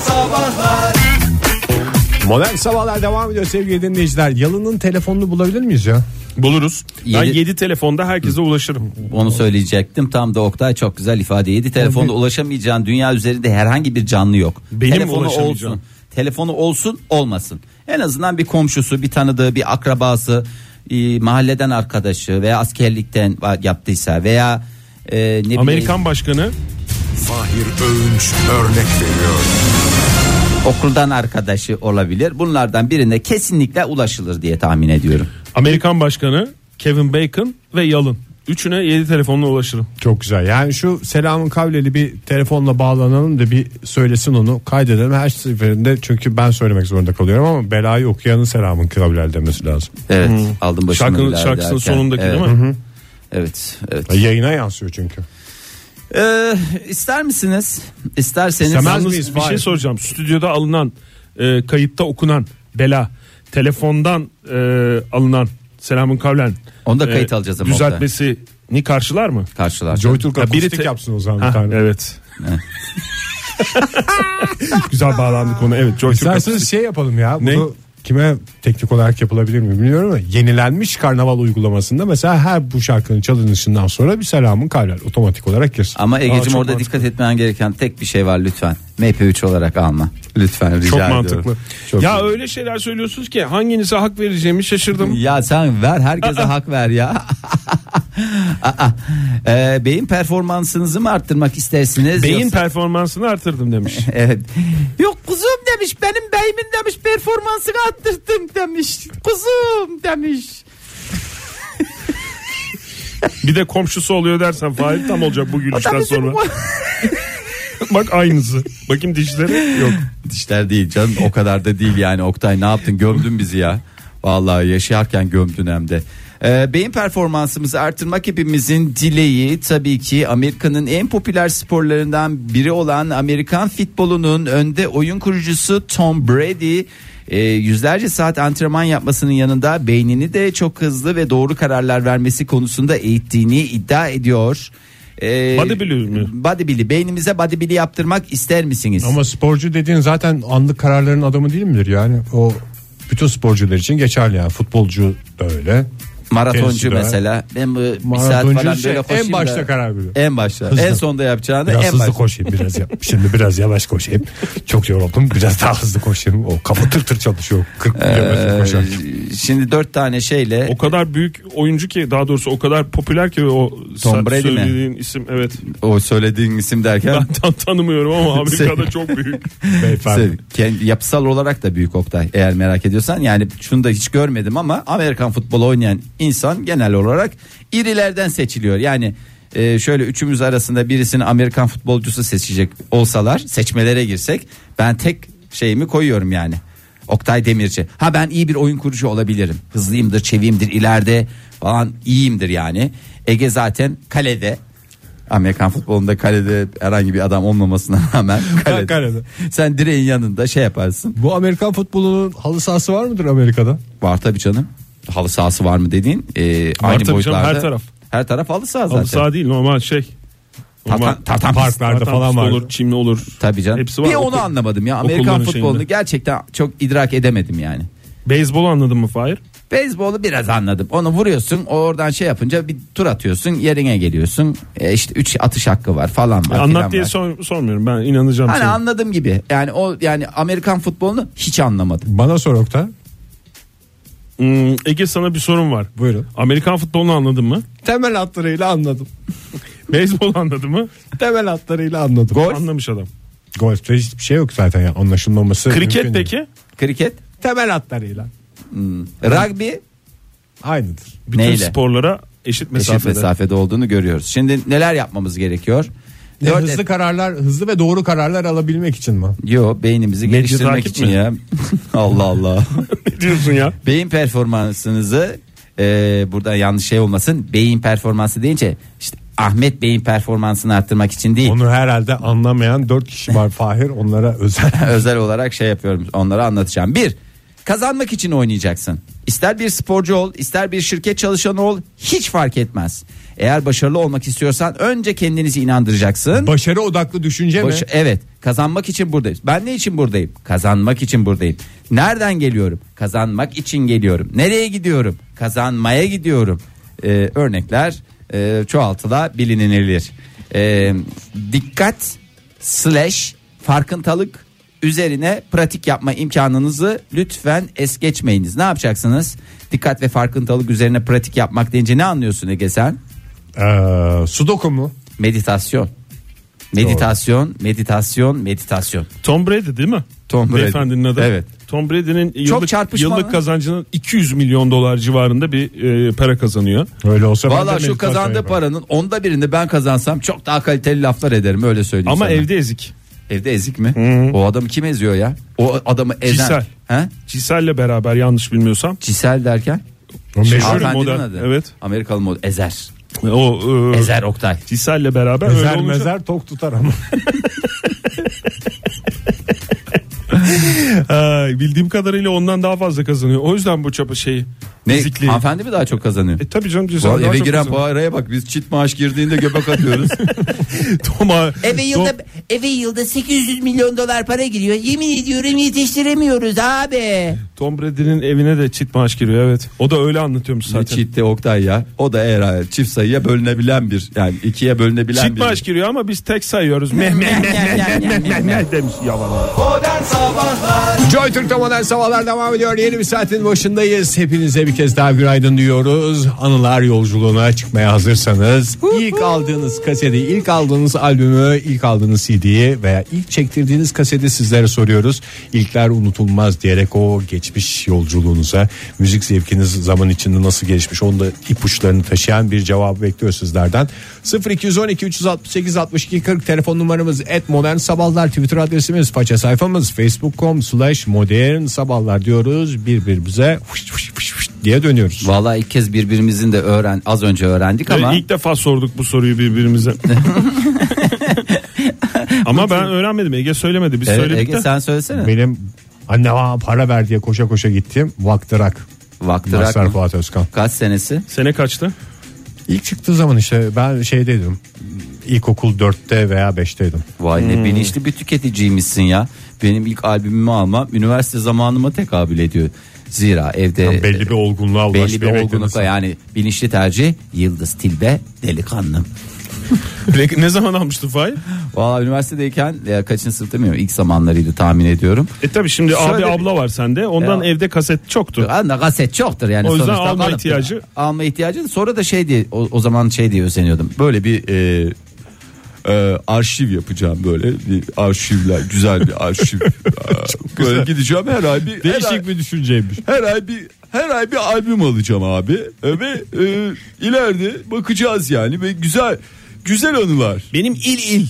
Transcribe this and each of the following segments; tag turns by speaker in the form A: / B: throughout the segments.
A: Sabahlar
B: Modern sabahlar devam ediyor sevgili dinleyiciler. Yalın'ın telefonunu bulabilir miyiz ya?
C: Buluruz. Ben
D: Yedi-
C: 7 telefonda herkese ulaşırım.
D: Onu söyleyecektim. Tam da Oktay çok güzel ifade etti. Telefonda ulaşamayacağın dünya üzerinde herhangi bir canlı yok.
C: Benim
D: Telefonu
C: ulaşamayacağım.
D: olsun. Telefonu olsun olmasın. En azından bir komşusu, bir tanıdığı, bir akrabası, e, mahalleden arkadaşı veya askerlikten yaptıysa veya e, ne bileyim-
C: Amerikan başkanı
A: Fahir Öğünç örnek veriyor
D: okuldan arkadaşı olabilir. Bunlardan birine kesinlikle ulaşılır diye tahmin ediyorum.
C: Amerikan başkanı Kevin Bacon ve Yalın. Üçüne 7 telefonla ulaşırım.
B: Çok güzel. Yani şu Selam'ın Kavleli bir telefonla bağlanalım da bir söylesin onu kaydedelim her seferinde. Çünkü ben söylemek zorunda kalıyorum ama belayı okuyanın Selam'ın Kavleli demesi lazım.
D: Evet, aldım başımı
C: Şarkının-
D: bile
C: şarkısının
D: derken.
C: Hmm. sonundaki
D: evet.
C: değil mi?
D: Evet, evet.
B: Yayına yansıyor çünkü.
D: Ee, ister misiniz? İsterseniz
B: İstemez
C: Yalnız
B: miyiz?
C: bir
B: Fahir?
C: şey soracağım. Stüdyoda alınan, e, kayıtta okunan bela, telefondan e, alınan Selamın Kavlen. e,
D: Onu da kayıt alacağız ama
C: Düzeltmesini karşılar mı?
D: karşılar.
B: Joy Türk
C: Ya biri
B: akustik
C: te-
B: yapsın o zaman bir
C: Ha,
B: tane.
C: evet.
B: Güzel bağlandı konu. Evet
C: Joy Türk
B: İsterseniz
C: akustik.
B: şey yapalım ya. Bunu
C: Ne?
B: kime teknik olarak yapılabilir mi bilmiyorum ama yenilenmiş karnaval uygulamasında mesela her bu şarkının çalınışından sonra bir Selam'ın Kavleli otomatik olarak girsin.
D: Ama
C: Aa,
D: Ege'cim
C: çok
D: orada
C: mantıklı.
D: dikkat etmen gereken tek bir şey var lütfen. MP3 olarak alma. Lütfen rica
C: Çok
D: ediyorum.
C: mantıklı.
D: Çok
C: ya
D: iyi.
C: öyle şeyler söylüyorsunuz ki hanginize hak vereceğimi şaşırdım.
D: Ya sen ver herkese hak ver ya. Aa, ee, beyin performansınızı mı arttırmak istersiniz?
C: Beyin
D: yoksa-
C: performansını artırdım demiş.
D: Evet. Yok kuzum demiş benim beyimin demiş performansını arttırdım demiş. Kuzum demiş.
C: Bir de komşusu oluyor dersen Fahir tam olacak bu gülüşten sonra. Bak aynısı. Bakayım dişleri yok.
D: Dişler değil canım o kadar da değil yani Oktay ne yaptın gömdün bizi ya. Vallahi yaşarken gömdün hem de. Ee, beyin performansımızı artırmak hepimizin dileği tabii ki Amerika'nın en popüler sporlarından biri olan Amerikan futbolunun önde oyun kurucusu Tom Brady e, yüzlerce saat antrenman yapmasının yanında beynini de çok hızlı ve doğru kararlar vermesi konusunda eğittiğini iddia ediyor. Ee,
C: Bodybuilder mi?
D: Bodybuilder. beynimize bodybuilder yaptırmak ister misiniz?
B: Ama sporcu dediğin zaten anlık kararların adamı değil midir yani? O bütün sporcular için geçerli yani. Futbolcu da öyle.
D: Maratoncu
B: Tenisi de.
D: mesela ben bu bir saat
B: Maratoncu
D: falan
B: şey,
D: böyle koşayım
B: en başta
D: da-
B: karar veriyor.
D: En başta.
B: Hızlı.
D: En sonda yapacağını
B: Biraz
D: en
B: hızlı
D: başta.
B: koşayım biraz ya. Şimdi biraz yavaş koşayım. Çok yoruldum. Biraz daha hızlı koşayım. O kafa tır tır çalışıyor. 40 kilometre koşar.
D: Ee, şimdi dört tane şeyle
C: O kadar büyük oyuncu ki daha doğrusu o kadar popüler ki o sa-
D: Brady mi?
C: söylediğin isim evet.
D: o söylediğin isim derken
C: Ben tam tanımıyorum ama
D: Şey-
C: Amerika'da çok büyük.
B: Beyefendi.
D: Sev- kendi yapısal olarak da büyük Oktay eğer merak ediyorsan yani şunu da hiç görmedim ama Amerikan futbolu oynayan insan genel olarak irilerden seçiliyor yani e, şöyle üçümüz arasında birisini Amerikan futbolcusu seçecek olsalar seçmelere girsek ben tek şeyimi koyuyorum yani Oktay Demirci ha ben iyi bir oyun kurucu olabilirim hızlıyımdır çeviyimdir ileride falan iyiyimdir yani Ege zaten kalede Amerikan futbolunda kalede herhangi bir adam olmamasına rağmen kalede.
B: kalede.
D: Sen direğin yanında şey yaparsın.
B: Bu Amerikan futbolunun halı sahası var mıdır Amerika'da?
D: Var tabii canım. Halı sahası var mı dediğin e, aynı
C: tabii canım,
D: boyutlarda.
C: her taraf.
D: Her taraf halı saha zaten.
C: Halı saha değil normal şey.
D: Tartan- tartan
C: pist-
B: parklarda
C: tartan
B: falan
C: pisti
B: var.
C: olur, çimli olur.
D: Tabii canım.
C: Hepsi var.
D: Bir
C: Okul-
D: onu anlamadım ya. Amerikan
C: okulların
D: futbolunu
C: şeyinde.
D: gerçekten çok idrak edemedim yani.
C: Beyzbolu anladın mı Fahir?
D: Beyzbolu biraz anladım. Onu vuruyorsun oradan şey yapınca bir tur atıyorsun yerine geliyorsun. E işte 3 atış hakkı var falan var. filan
C: Anlat diye
D: var.
C: sor- Şey- sormuyorum ben inanacağım
D: Hani
C: sana.
D: anladım gibi. Yani o yani Amerikan futbolunu hiç anlamadım.
B: Bana sor Oktay.
C: Hmm, Ege sana bir sorum var.
B: Buyurun.
C: Amerikan futbolunu anladın mı?
B: Temel hatlarıyla anladım.
C: Beyzbolu anladın mı?
B: Temel hatlarıyla anladım. Golf.
C: Anlamış adam.
B: Golf'te hiçbir şey yok zaten ya. Anlaşılmaması.
C: Kriket
B: mümkün değil.
C: peki?
D: Kriket,
B: Temel hatlarıyla.
D: rugby
B: Aynıdır.
C: Bütün
D: Neyle?
C: sporlara eşit mesafede.
D: eşit mesafede olduğunu görüyoruz. Şimdi neler yapmamız gerekiyor?
B: Ne,
D: Dört
B: hızlı
D: et-
B: kararlar, hızlı ve doğru kararlar alabilmek için mi?
D: Yo beynimizi geliştirmek
C: takip
D: için
C: mi?
D: ya. Allah Allah.
C: ne diyorsun ya?
D: beyin performansınızı e, burada yanlış şey olmasın. Beyin performansı deyince işte Ahmet beyin performansını arttırmak için değil.
B: Onu herhalde anlamayan dört kişi var Fahir. Onlara özel.
D: Özel olarak şey yapıyorum. Onları anlatacağım. Bir Kazanmak için oynayacaksın. İster bir sporcu ol, ister bir şirket çalışanı ol, hiç fark etmez. Eğer başarılı olmak istiyorsan önce kendinizi inandıracaksın.
B: Başarı odaklı düşünce
D: Başı-
B: mi?
D: evet kazanmak için buradayız. Ben ne için buradayım? Kazanmak için buradayım. Nereden geliyorum? Kazanmak için geliyorum. Nereye gidiyorum? Kazanmaya gidiyorum. Ee, örnekler e, çoğaltılabilinilir. Ee, dikkat slash farkındalık üzerine pratik yapma imkanınızı lütfen es geçmeyiniz. Ne yapacaksınız? Dikkat ve farkındalık üzerine pratik yapmak deyince ne anlıyorsun Ege sen?
B: Ee, sudoku mu?
D: Meditasyon. Meditasyon, meditasyon, meditasyon.
C: Tom Brady değil mi?
D: Tom Brady.
C: Beyefendinin adı.
D: Evet.
C: Tom Brady'nin yıllık,
D: çarpışmalı.
C: yıllık kazancının 200 milyon dolar civarında bir e, para kazanıyor.
B: Öyle olsa ben de
D: Valla şu
B: meditasyon
D: kazandığı
B: yaparım.
D: paranın onda birini ben kazansam çok daha kaliteli laflar ederim öyle söyleyeyim
C: Ama
D: sana.
C: evde ezik.
D: evde ezik mi? O adamı kim eziyor ya? O adamı ezen.
C: Cisel.
D: He?
C: Cisel'le beraber yanlış bilmiyorsam.
D: Cisel derken?
B: O meşhur
C: Meşhur
D: Hanımefendinin
C: model.
D: adı.
C: Evet.
D: Amerikalı model. Ezer.
C: O e,
D: Ezer Oktay.
C: Cisel'le beraber
B: Ezer
C: öyle olunca-
B: mezer tok tutar ama.
C: Ay, bildiğim kadarıyla ondan daha fazla kazanıyor. O yüzden bu çapa şeyi.
D: Ne?
C: ezikliği.
D: Hanımefendi mi daha çok kazanıyor?
C: E tabii canım Cisel.
D: Vallahi
C: daha
D: eve
C: çok
D: giren
C: kazanıyor.
D: paraya bak biz çit maaş girdiğinde göbek atıyoruz.
C: Toma,
E: Eve yılda eve yılda 800 milyon dolar para giriyor. Yemin ediyorum yetiştiremiyoruz abi.
C: Tom Brady'nin evine de çit maaş giriyor evet. O da öyle anlatıyormuş zaten.
D: Ne
C: Çit,
D: çitti Oktay ya. O da eğer çift sayıya bölünebilen bir yani ikiye bölünebilen bir.
C: maaş giriyor ama biz tek sayıyoruz. Meh meh meh meh meh demiş yalan.
B: Joy Türk'te modern sabahlar devam ediyor. Yeni bir saatin başındayız. Hepinize bir kez daha günaydın diyoruz. Anılar yolculuğuna çıkmaya hazırsanız ilk aldığınız kaseti, ilk aldığınız albümü, ilk aldığınız CD'yi veya ilk çektirdiğiniz kaseti sizlere soruyoruz. İlkler unutulmaz diyerek o geçmiş yolculuğunuza, müzik zevkiniz zaman içinde nasıl gelişmiş onu da ipuçlarını taşıyan bir cevabı bekliyoruz sizlerden. 0212 368 62 40 telefon numaramız et modern sabahlar twitter adresimiz faça sayfamız facebook.com slash modern sabahlar diyoruz birbirimize fış fış fış fış diye dönüyoruz.
D: Vallahi ilk kez birbirimizin de öğren az önce öğrendik ama
C: Ee, İlk defa sorduk bu soruyu birbirimize. Ama ben öğrenmedim. Ege söylemedi. Biz
D: Evet,
C: söyledik
D: E, Ege
C: de.
D: sen söylesene.
B: Benim anne aa, para ver diye koşa koşa gittiğim Vaktırak.
D: Vakti
B: Mazhar
D: rakam.
B: Fuat Özkan.
D: Kaç senesi?
C: Sene kaçtı?
B: İlk çıktığı zaman işte ben şeydeydim. İlkokul 4'te veya 5'teydim.
D: Vay ne bilinçli bir tüketiciymişsin ya. Benim ilk albümümü almam üniversite zamanıma tekabül ediyor. Zira evde
B: Tam belli bir olgunluğa
D: Ee, belli
B: ulaşmayı
D: bir
B: bekliyorsun.
D: olgunlukla yani bilinçli tercih Yıldız Tilbe delikanlım.
C: Peki ne zaman almıştı Fahir?
D: Valla üniversitedeyken ya kaçıncı sınıf demiyorum ilk zamanlarıydı tahmin ediyorum.
C: E tabi şimdi
D: Şöyle
C: abi
D: bir-
C: abla var sende. Ondan
D: Ya.
C: evde kaset çoktu.
D: Anda kaset çoktur yani.
C: O yüzden
D: sonuçta
C: alma
D: kalıptır.
C: ihtiyacı-
D: Alma ihtiyacı. Sonra da şey diye o, o zaman şey diye özeniyordum. Böyle bir e, e, arşiv yapacağım böyle bir arşivler güzel bir arşiv. böyle gideceğim her ay bir her ay,
B: Değişik bir düşünceymiş.
D: her ay bir her ay bir albüm alacağım abi E, ve e, ileride bakacağız yani ve güzel güzel anılar.
C: Benim il il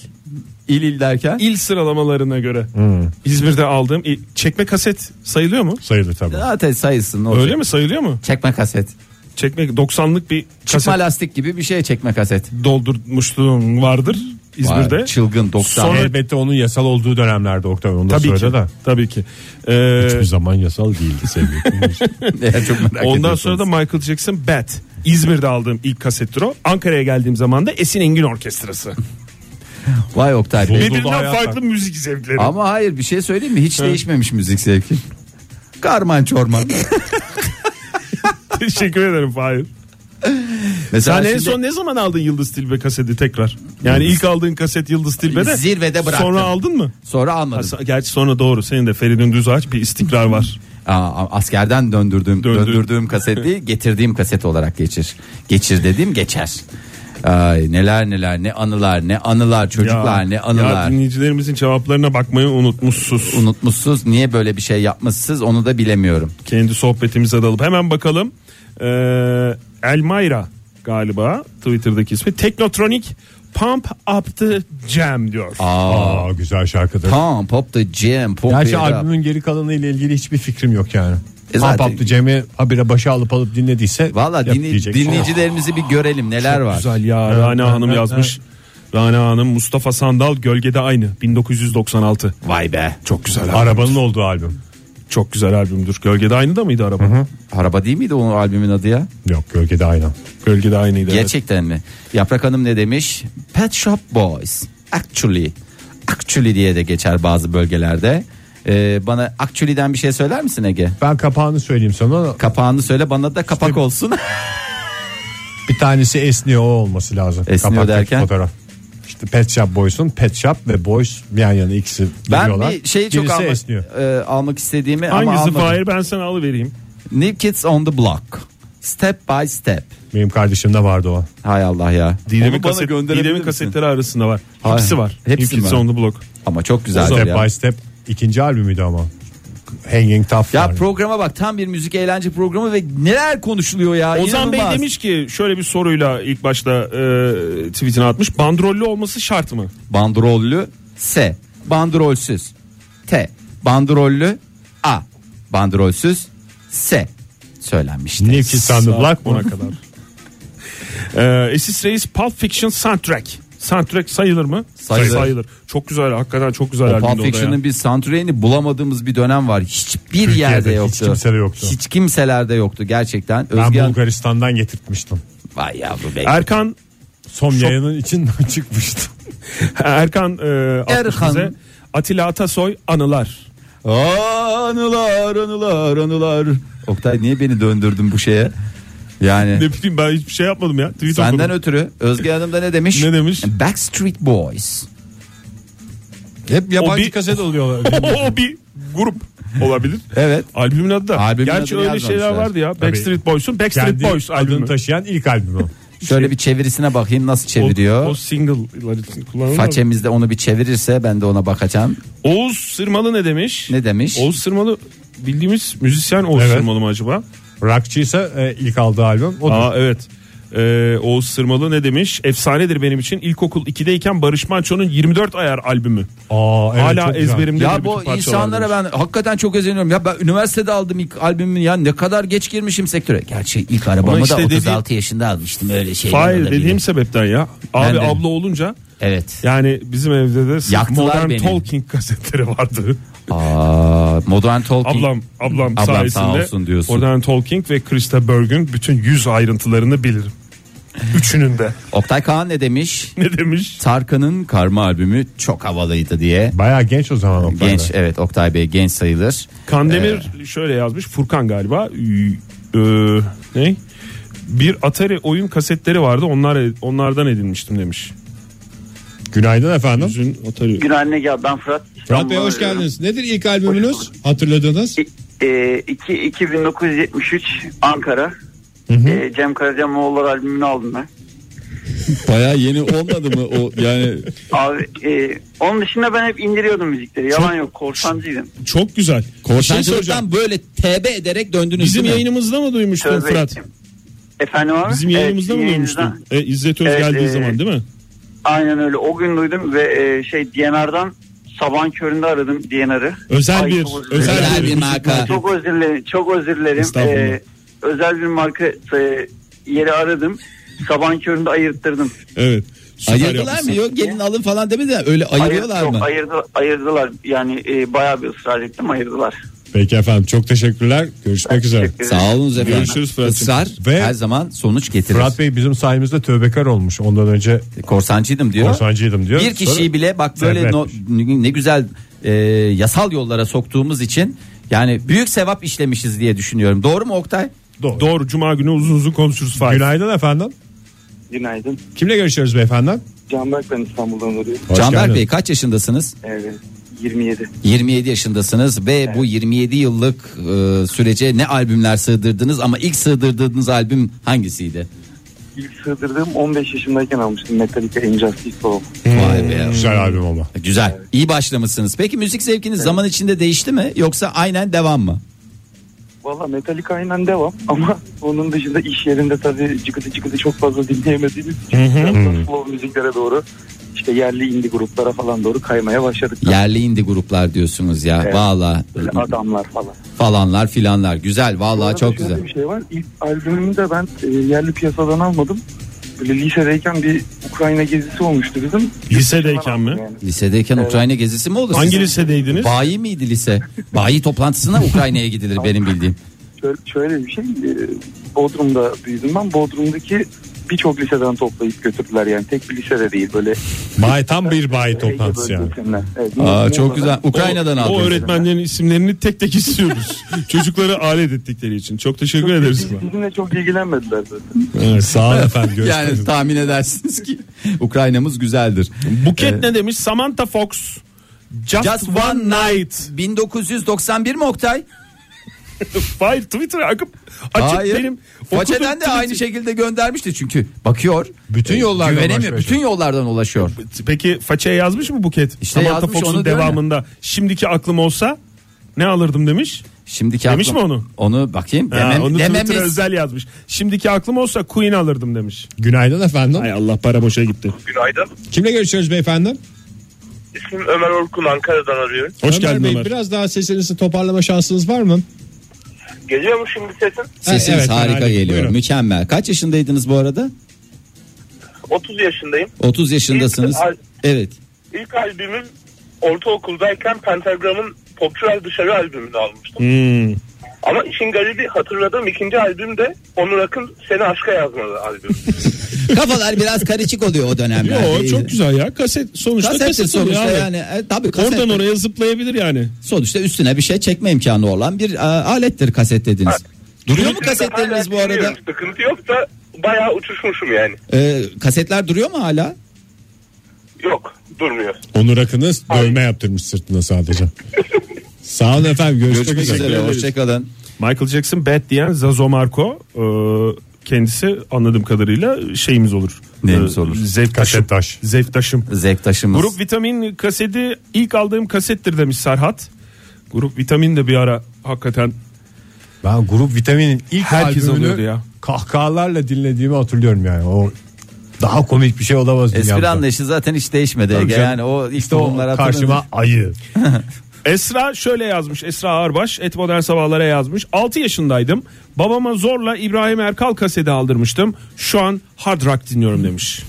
D: İl il derken
C: il sıralamalarına göre
D: Hmm.
C: İzmir'de aldığım il- çekme kaset sayılıyor mu?
B: Sayılır tabii.
D: zaten sayısın ne olacak?
C: Öyle mi sayılıyor mu?
D: Çekme kaset.
C: Çekme 90'lık bir
D: Çıkma
C: kaset
D: lastik gibi bir şey çekme kaset.
C: doldurmuşluğum vardır İzmir'de.
D: Vay, çılgın 90.
C: Sonra-
B: Elbette onun yasal olduğu dönemlerde Oktay onu da
C: Tabii ki.
B: söyle de.
C: Tabii ki. Ee,
B: Hiçbir zaman yasal değildi sevgili.
D: Ya, çok merak
C: Ondan
D: ediyorsunuz.
C: sonra da Michael Jackson Bat. İzmir'de aldığım ilk kasettir o. Ankara'ya geldiğim zaman da Esin Engin Orkestrası.
D: Vay Oktay Bey.
C: Birbirinden
B: hayat
C: farklı müzik zevkleri.
D: Ama hayır bir şey söyleyeyim mi? Hiç değişmemiş müzik zevki. Karman çorman.
C: Teşekkür ederim Fahir.
D: Mesela
C: Sen en
D: şimdi-
C: son ne zaman aldın Yıldız Tilbe kaseti tekrar? Yani ilk aldığın kaset Yıldız Tilbe'de.
D: Zirvede bıraktım.
C: Sonra aldın mı?
D: sonra almadım.
C: Aslında- Gerçi sonra doğru. Senin de Feridun Düzağaç bir istikrar var.
D: Aa, askerden döndürdüğüm
C: Döndür-
D: döndürdüğüm kaseti getirdiğim kaset olarak geçir. Geçir dediğim geçer. Ay, neler neler ne anılar ne anılar çocuklar ne
C: ya
D: anılar.
C: dinleyicilerimizin cevaplarına bakmayı unutmuşsuz.
D: Unutmuşsuz niye böyle bir şey yapmışsınız onu da bilemiyorum.
C: Kendi sohbetimize dalıp hemen bakalım. Ee, Elmayra galiba Twitter'daki ismi. Teknotronik Pump Up the Jam diyor.
B: Aa güzel şarkıdır.
D: Tamam pop the jam pop
B: Gerçi
D: it up.
B: albümün geri kalanı ile ilgili hiçbir fikrim yok yani.
D: E
B: Pump
D: zaten-
B: Up the Jam'i habire başa alıp alıp dinlediyse
D: Valla
B: yap
D: dinle-
B: diyecek. şey
D: dinleyicilerimizi bir görelim neler var.
C: Güzel Ah, ya Rana Hanım yazmış. Rana Hanım Mustafa Sandal gölgede aynı 1996.
D: Vay be.
C: Çok güzel.
B: Arabanın olduğu albüm.
C: Çok güzel albümdür. Gölgede aynı da mıydı araba?
D: Araba değil miydi onun albümün adı ya?
B: Yok gölgede aynen.
C: Gölgede aynıydı. evet.
D: Gerçekten mi? Yaprak Hanım ne demiş? Pet Shop Boys. Actually. Actually diye de geçer bazı bölgelerde. Ee, bana Actually'den bir şey söyler misin Ege?
B: Ben kapağını söyleyeyim sana.
D: Kapağını söyle bana da kapak olsun.
B: Bir tanesi esniyor o olması lazım.
D: Esniyor
B: Kapaktaki
D: derken?
B: Fotoğraf. İşte Pet Shop Boys'un Pet Shop ve Boys yan yana ikisi
D: ben
B: duruyorlar.
D: bir şeyi çok
B: Birisi
D: almak,
B: esniyor.
D: e, almak istediğimi ama
C: Hangisi
D: almadım.
C: Fahir ben sana alıvereyim.
D: New Kids on the Block. Step by Step.
B: Benim kardeşimde vardı o.
D: Hay Allah ya.
C: Didem'in,
D: Onu bana
C: kaset,
D: gönderebilir
C: Didem'in
D: misin?
C: kasetleri arasında var.
D: Hayır.
C: Hepsi var.
D: Hepsi
C: Hepsi
D: var.
C: on the Block.
D: Ama çok güzel
B: Step
D: ya.
B: by Step ikinci albümüydü ama. Hanging Tough.
D: Ya
B: yani.
D: programa bak tam bir müzik eğlence programı ve neler konuşuluyor ya.
C: Ozan Bey
D: inanılmaz.
C: demiş ki şöyle bir soruyla ilk başta e, tweetini atmış. Bandrollü olması şart mı?
D: Bandrollü S. Bandrolsüz T. Bandrollü A. Bandrolsüz S. Söylenmişti.
B: New Kids on the Block mı?
C: Ona kadar. Ee, Esis Reis Pulp Fiction Soundtrack. Soundtrack sayılır mı?
D: Sayılır.
C: Çok güzel. Hakikaten çok güzel
D: O
C: albümdü o
D: Pulp
C: da
D: Fiction'ın
C: ya.
D: bir soundtrack'ini bulamadığımız bir dönem var. Hiçbir yerde
B: hiç
D: yoktu.
B: kimsede yoktu.
D: Hiç kimselerde yoktu gerçekten.
B: Ben
D: Özge Hanım-
B: Bulgaristan'dan getirtmiştim.
D: Vay yavru be.
C: Erkan
B: Son yayının içinden çıkmıştı.
C: Erkan e, atmış
D: Erkan.
C: bize. Atilla Atasoy Anılar.
D: Anılar anılar anılar. Oktay niye beni döndürdün bu şeye? Yani
C: Ne bileyim ben hiçbir şey yapmadım ya. Tweet
D: Senden
C: okudum.
D: ötürü Özge Hanım da ne demiş?
C: Ne demiş?
D: Backstreet Boys.
B: Hep yabancı
C: O bir-
B: kaset oluyorlar.
C: o bir grup olabilir.
D: Evet.
C: Albümün adı da.
D: Albümün
C: Gerçi
D: adını
C: öyle
D: yazmamışlar.
C: şeyler vardı ya. Backstreet Boys'un Backstreet
B: Kendi
C: Boys albümü.
B: adını taşıyan ilk albümü.
D: Şöyle bir çevirisine bakayım nasıl çeviriyor.
C: O, o single'lar için kullanılır. mı?
D: Façemizde onu bir çevirirse ben de ona bakacağım.
C: Oğuz Sırmalı ne demiş?
D: Ne demiş?
C: Oğuz Sırmalı bildiğimiz müzisyen Oğuz
B: Evet.
C: Sırmalı mı acaba?
B: Rockçıysa e, ilk aldığı albüm. O
C: Aa evet. Ee, Oğuz Sırmalı ne demiş? Efsanedir benim için. İlkokul 2'deyken Barış Manço'nun 24 ayar albümü.
B: Aa, evet,
C: Hala
B: çok güzel.
C: ezberimde.
D: Ya
C: bir bütün
D: bu
C: parçalar
D: insanlara
C: demiş.
D: ben hakikaten çok özeniyorum. Ya ben üniversitede aldım ilk albümü ya ne kadar geç girmişim sektöre. Gerçi ilk arabamı
C: Ama işte
D: da
C: dediğim-
D: 36 yaşında almıştım öyle şeyler.
C: Hayır
D: olabilir.
C: dediğim sebepten ya. Abi
D: Ben de-
C: abla olunca
D: Evet.
C: yani bizim evde de sırf
D: Yaktılar
C: Modern
D: beni.
C: Talking kasetleri vardı.
D: Aa, Modern Talking.
C: Ablam ablam,
D: Ablam
C: sayesinde
D: sağ olsun diyorsun.
C: Modern Talking ve Krista Berg'ün bütün yüz ayrıntılarını bilirim. Üçünün de.
D: Oktay Kağan ne demiş?
C: Ne demiş?
D: Tarkan'ın Karma albümü çok havalıydı diye.
B: Bayağı genç o zaman. o
D: Genç
B: kadar.
D: evet Oktay Bey genç sayılır.
C: Kandemir şöyle yazmış Furkan galiba Ü- Ö- ne bir Atari oyun kasetleri vardı onlar onlardan edinmiştim demiş.
B: Günaydın efendim.
C: Üzün Atari.
F: Günaydın ya ben Fırat.
B: Fırat Bey hoş
F: İstanbul'dan
B: geldiniz. Nedir ilk albümünüz?
F: Hoş
B: Hatırladığınız?
F: arıyorum. E, iki- 2973 Ankara. E, Cem Karaca Moğollar albümünü aldım ben.
G: Baya yeni olmadı mı o yani
F: Abi e, onun dışında ben hep indiriyordum müzikleri. Yalan yok korsancıydım.
C: Çok güzel.
F: şey
G: şey
D: Korsancılıktan böyle TB ederek döndünüz
C: Bizim
D: değil mi?
C: yayınımızda mı duymuştun
F: Tövbe
C: Fırat?
F: ettim. Efendim abi?
C: Bizim
F: Evet,
C: yayınımızda mı
F: yayınınızda.
C: duymuştun? E, İzzet Öz
F: Evet,
C: geldiği
F: e,
C: zaman değil mi?
F: Aynen öyle. O gün duydum ve e, şey DNR'dan sabahın köründe aradım DNR'ı.
C: Özel
F: Ay,
C: bir
F: çok özür
C: özel,
F: dilerim.
D: Özel
C: bir,
D: bir marka.
F: Çok özür dilerim. Çok özür dilerim.
C: Estağfurullah.
F: E, özel bir marka e, yeri aradım. Sabahın köründe ayırttırdım.
C: Evet. Süper
D: Ayırdılar
C: yapmışsın.
D: mı yok gelin alın falan demedi de öyle ayırıyorlar
F: Ayır-
D: mı?
F: Yok, ayırdı, ayırdılar. Yani e, bayağı bir ısrar ettim ayırdılar.
B: Peki efendim çok teşekkürler. Görüşmek üzere.
F: Teşekkür ederim.
D: Sağ olun efendim.
C: Görüşürüz Fırat'cığım.
D: Israr
B: Ve-
D: her zaman sonuç getirir.
B: Fırat Bey bizim sayemizde tövbekar olmuş. Ondan önce
D: Korsancıydım diyor.
B: korsancıydım diyor.
D: Bir kişiyi
B: Sonra-
D: bile bak böyle
B: Evet.
D: no- ne güzel e, yasal yollara soktuğumuz için yani büyük sevap işlemişiz diye düşünüyorum. Doğru mu Oktay?
B: Doğru.
C: Doğru cuma günü uzun uzun konuşuruz Fahir.
B: Günaydın efendim.
H: Günaydın.
B: Kimle görüşüyoruz beyefendi?
H: Canberk ben İstanbul'dan arıyorum.
B: Hoş
D: Canberk
B: geldiniz.
D: Bey kaç yaşındasınız?
H: Evet. 27.
D: 27 yaşındasınız ve bu 27 yıllık e, sürece ne albümler sığdırdınız ama ilk sığdırdığınız albüm hangisiydi?
H: İlk sığdırdığım 15 yaşındayken almıştım Metallica Injustice for All.
D: Vay be.
B: Güzel albüm ama.
D: Güzel. iyi başlamışsınız. Peki müzik zevkiniz zaman içinde değişti mi yoksa aynen devam mı?
H: Valla Metallica aynen devam ama onun dışında iş yerinde tabii cıkıtı cıkıtı çok fazla dinleyemediğimiz için biraz daha slow müziklere doğru işte yerli indie gruplara falan doğru kaymaya başladık.
D: Yerli indie gruplar diyorsunuz ya.
H: Evet.
D: Valla
H: Böyle adamlar falan.
D: falanlar filanlar. Güzel valla
H: Arada
D: çok
H: şöyle
D: güzel.
H: Bir şey var. İlk albümümü de ben e, yerli piyasadan almadım. Böyle lisedeyken bir Ukrayna gezisi olmuştu bizim.
C: Lisedeyken mi?
H: Yani.
D: Lisedeyken Ukrayna gezisi mi olur?
C: Hangi
D: sizin?
C: lisedeydiniz?
D: Bayi miydi lise? Bayi toplantısına Ukrayna'ya gidilir benim bildiğim.
H: Şöyle, şöyle bir şey e, Bodrum'da büyüdüm ben. Bodrum'daki birçok liseden toplayıp götürdüler yani tek bir lisede değil böyle
B: Bay tam bir bayi
H: Ege
B: toplantısı yani.
H: bölgesinden. Evet,
D: Aa, çok
H: Muğla'dan.
D: güzel. Ukrayna'dan
C: o, o
D: aldınız.
C: öğretmenlerin isimlerini tek tek istiyoruz. Çocukları alet ettikleri için. Çok teşekkür ederiz.
H: Biz- Bizimle çok ilgilenmediler zaten.
B: Evet, sağ olun efendim. Görüşmek üzere.
D: Yani tahmin edersiniz ki Ukrayna'mız güzeldir.
C: Buket ne demiş? Samantha Fox. Ee, Just,
D: Just
C: one,
D: one
C: night.
D: 1991 mi Oktay?
C: Hayır Twitter akıp açıp
D: Hayır.
C: benim. okudum
D: Façeden de
C: Twitter-
D: aynı şekilde göndermişti çünkü bakıyor.
B: Bütün
D: e,
B: yollardan
D: güvenemiyor.
B: ulaşıyor.
D: Bütün yollardan ulaşıyor.
C: Peki façeye yazmış mı Buket?
D: İşte yazmış,
C: Fox'un
D: onu diyorum ya.
C: devamında şimdiki aklım olsa ne alırdım demiş.
D: Şimdiki
C: Demiş
D: aklım-
C: mi onu?
D: Onu bakayım.
C: Ha,
D: Demem,
C: onu
D: dememiz-
C: Twitter özel yazmış. Şimdiki aklım olsa Queen alırdım demiş.
B: Günaydın efendim.
C: Hay Allah para boşa gitti.
I: Günaydın.
B: Kimle görüşüyoruz beyefendi?
I: İsmim Ömer Orkun Ankara'dan arıyorum.
C: Hoş
B: Ömer
C: geldin
B: Bey,
C: Ömer.
B: Biraz daha sesinizi toparlama şansınız var mı?
I: Geliyor mu şimdi sesim?
D: Sesiniz
B: Ha, evet,
D: harika
B: harika.
D: geliyor.
B: Buyurun.
D: Mükemmel. Kaç yaşındaydınız bu arada?
I: 30 yaşındayım.
D: 30 yaşındasınız.
I: İlk-
D: Evet.
I: İlk albümüm ortaokuldayken Pentagram'ın Popçular Dışarı albümünü almıştım.
C: Hmm.
I: Ama işin garibi hatırladığım ikinci albüm de Onur Akın Seni Aşka Yazmalı albüm.
D: Kafalar biraz karışık oluyor o dönemlerde.
C: Yo, çok güzel ya. Kaset sonuçta kaset,
D: Kasettir
C: oluyor
D: sonuçta yani.
C: abi.
D: E, tabii kaset.
C: Oradan oraya zıplayabilir yani.
D: Sonuçta üstüne bir şey çekme imkanı olan bir e, alettir kaset dediniz. Duruyor mu kasetleriniz bu
I: Hala
D: arada?
I: dinliyorum. Sıkıntı yok da bayağı uçuşmuşum yani.
D: E, kasetler duruyor mu hala?
I: Yok durmuyor.
B: Onur Akın'ı dövme yaptırmış sırtına sadece. sağ olun efendim. Görüşmek,
D: Görüşmek
B: üzere.
D: üzere. Hoşçakalın.
C: Michael Jackson bad diyen Zazo Marco e, kendisi anladığım kadarıyla şeyimiz olur. E,
D: Neyimiz olur?
C: Zevktaşım.
B: Kaşetaş.
C: Zevktaşım.
D: Zevktaşımız.
C: Grup Vitamin kaseti ilk aldığım kasettir demiş Serhat. Grup Vitamin de bir ara hakikaten
B: Ben Grup Vitamin'in ilk
C: Herkes alıyordu
B: albümünü
C: ya.
B: kahkahalarla dinlediğimi hatırlıyorum yani. O daha komik bir şey olamaz.
D: Espri
B: dünyamda.
D: anlayışı zaten hiç değişmedi.
B: Tabii
D: Ege.
B: canım.
D: Yani o ilk
B: İşte o
D: tohumlar
B: karşıma
D: atılınca-
B: ayı.
C: Esra şöyle yazmış. Esra Ağırbaş et modern sabahlara yazmış. 6 yaşındaydım. Babama zorla İbrahim Erkal kaseti aldırmıştım. Şu an hard rock dinliyorum demiş.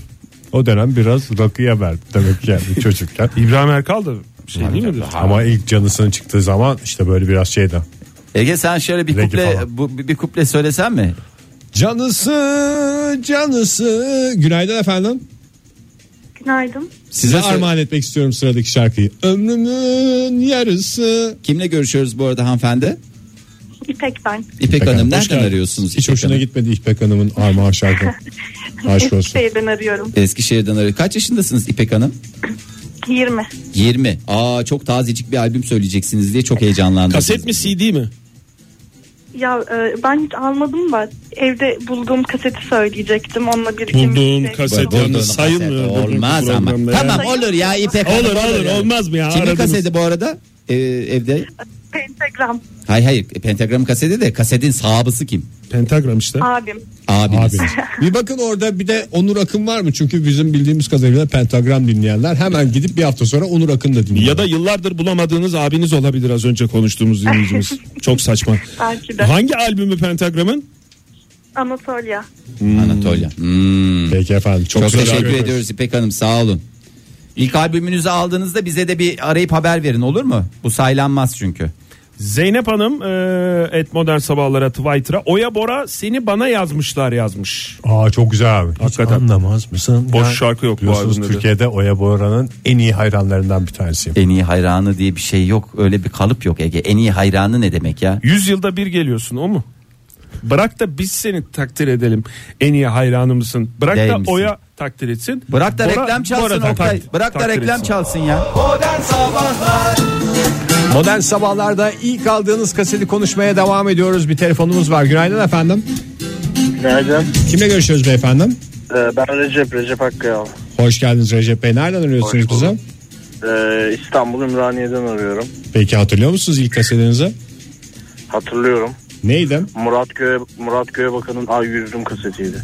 B: O dönem biraz rakıya verdi demek ki yani çocukken.
C: İbrahim Erkal da şey değil midir?
B: Ama ilk canısının çıktığı zaman işte böyle biraz şey şeyden.
D: Ege sen şöyle bir
B: Reggae
D: kuple
B: falan.
D: bu, bir kuple söylesen mi?
B: Canısı, canısı. Günaydın efendim.
J: Günaydın.
B: Size
D: sö-
B: armağan etmek istiyorum sıradaki şarkıyı. Ömrümün yarısı.
D: Kimle görüşüyoruz bu arada hanımefendi?
J: İpek ben.
D: İpek, Hanım,
B: Hanım, hoş
D: nereden
B: geldiniz.
D: arıyorsunuz?
B: Hiç
D: İpek
B: hoşuna
D: Hanım?
B: gitmedi İpek Hanım'ın armağan şarkı. Aşk olsun.
J: Eskişehir'den arıyorum.
D: Eskişehir'den arıyor. Kaç yaşındasınız İpek Hanım?
J: 20.
D: 20. Aa çok tazecik bir albüm söyleyeceksiniz diye çok heyecanlandım.
C: Kaset mi CD mi?
J: Ya e, ben hiç almadım da evde bulduğum kaseti söyleyecektim. Onunla bir şey iki
C: Bulduğun
J: müzik-
C: kaset
D: Bulduğun
C: yalnız
D: kaset.
C: sayılmıyor. bugünkü
D: Olmaz ama.
C: programda ya.
D: Tamam olur ya İpek Hanım.
C: Olur olur
D: ya.
C: olmaz mı ya?
D: Kimin
C: Aradınız.
D: kaseti bu arada? Ee, evde.
J: Pentagram
D: Hayır hayır Pentagram kaseti de kasetin sahabısı kim?
C: Pentagram işte.
J: abim.
D: Abiniz.
B: Abiniz. bir bakın orada bir de Onur Akın var mı? Çünkü bizim bildiğimiz kadarıyla pentagram dinleyenler hemen gidip bir hafta sonra Onur Akın da dinliyor.
C: Ya da yıllardır bulamadığınız abiniz olabilir az önce konuştuğumuz dinleyicimiz. Çok saçma.
J: Belki de.
C: Hangi albümü Pentagram'ın?
J: Anatolia.
D: Anatolia. Hmm.
B: Peki efendim. Çok,
D: Çok
B: güzel
D: teşekkür
B: haber.
D: ediyoruz İpek Hanım sağ olun. İlk albümünüzü aldığınızda bize de bir arayıp haber verin olur mu? Bu saylanmaz çünkü.
C: Zeynep Hanım e, et modern sabahlara Twitter'a Oya Bora seni bana yazmışlar yazmış.
B: Aa çok güzel abi.
C: Hakikaten.
B: anlamaz mısın?
C: Boş şarkı yok bu
B: biliyorsunuz
C: albümde de.
B: Türkiye'de Oya Bora'nın en iyi hayranlarından bir tanesiyim.
D: En iyi hayranı diye bir şey yok. Öyle bir kalıp yok Ege. En iyi hayranı ne demek ya?
C: Yüzyılda bir geliyorsun o mu? Bırak da biz seni takdir edelim. En iyi hayranımızın. Bırak
D: Değil
C: da
D: misin?
C: Oya takdir etsin.
D: Bırak da
C: Bora-
D: reklam çalsın
C: Bora da
D: Oktay.
C: tak-
D: Bırak da
C: takdir
D: reklam
C: etsin.
D: çalsın ya.
B: Modern sabahlarda ilk aldığınız kaseti konuşmaya devam ediyoruz. Bir telefonumuz var. Günaydın efendim.
I: Günaydın. Ee,
B: Kimle görüşüyoruz beyefendim?
I: ben Recep, Recep Hakkıyal.
B: Hoş geldiniz Recep Bey. Nereden arıyorsunuz
I: Hoş
B: bize?
I: bulduk. Ee, İstanbul Ümraniye'den arıyorum.
B: Peki hatırlıyor musunuz ilk kasetinizi?
I: Hatırlıyorum.
B: Neydi?
I: Murat Köy Murat Köybakan'ın Ay Yüzdüm kasetiydi.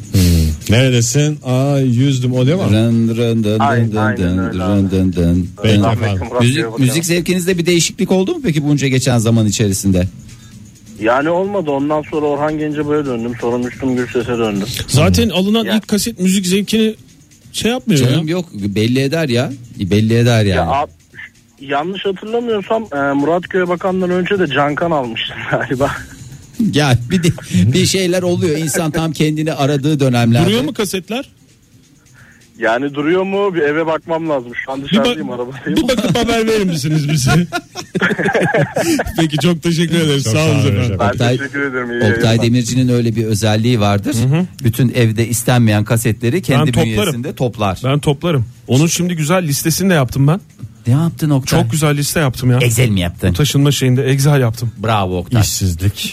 B: Neredesin? Aa yüzdüm o değil mi?
D: Rın rın dın dın
I: Aynen,
D: dın
I: aynen
D: dın
I: öyle
D: rın
I: abi.
D: dın dın.
B: Peki
D: Dın.
B: efendim.
I: Rahmetli Murat
D: Müzik,
I: Köybakan.
D: müzik zevkinizde bir değişiklik oldu mu peki bunca geçen zaman içerisinde?
I: Yani olmadı. Ondan sonra Orhan Gencebay'a döndüm. Sonra Müslüm Gürses'e döndüm.
C: Zaten alınan
I: Ya.
C: ilk kaset müzik zevkini şey yapmıyor
D: Canım yok belli eder ya. Belli eder yani.
I: Ya ab- yanlış hatırlamıyorsam e, Muratköy'e bakandan önce de Cankan almıştım galiba.
D: Ya bir de- bir şeyler oluyor. İnsan tam kendini aradığı dönemlerde.
I: Duruyor mu
C: kasetler?
I: Yani duruyor mu? Bir eve bakmam lazım. Şu an dışarıdayım arabadayım.
K: Bir bakıp haber verir misiniz bize?
D: Peki çok teşekkür
K: ederiz. Çok Sağ olun sağ olun efendim. hocam.
D: Oktay,
I: Teşekkür ederim. iyi
D: Oktay
I: yayınlar.
D: Demirci'nin öyle bir özelliği vardır. Bütün evde istenmeyen kasetleri kendi
C: Ben toplarım.
D: bünyesinde toplar.
C: Ben toplarım. Onun şimdi güzel listesini de yaptım ben.
D: Ne yaptın Oktay?
C: Çok güzel liste yaptım ya.
D: Excel mi yaptın?
C: Taşınma şeyinde Excel yaptım.
D: Bravo Oktay. İşsizlik.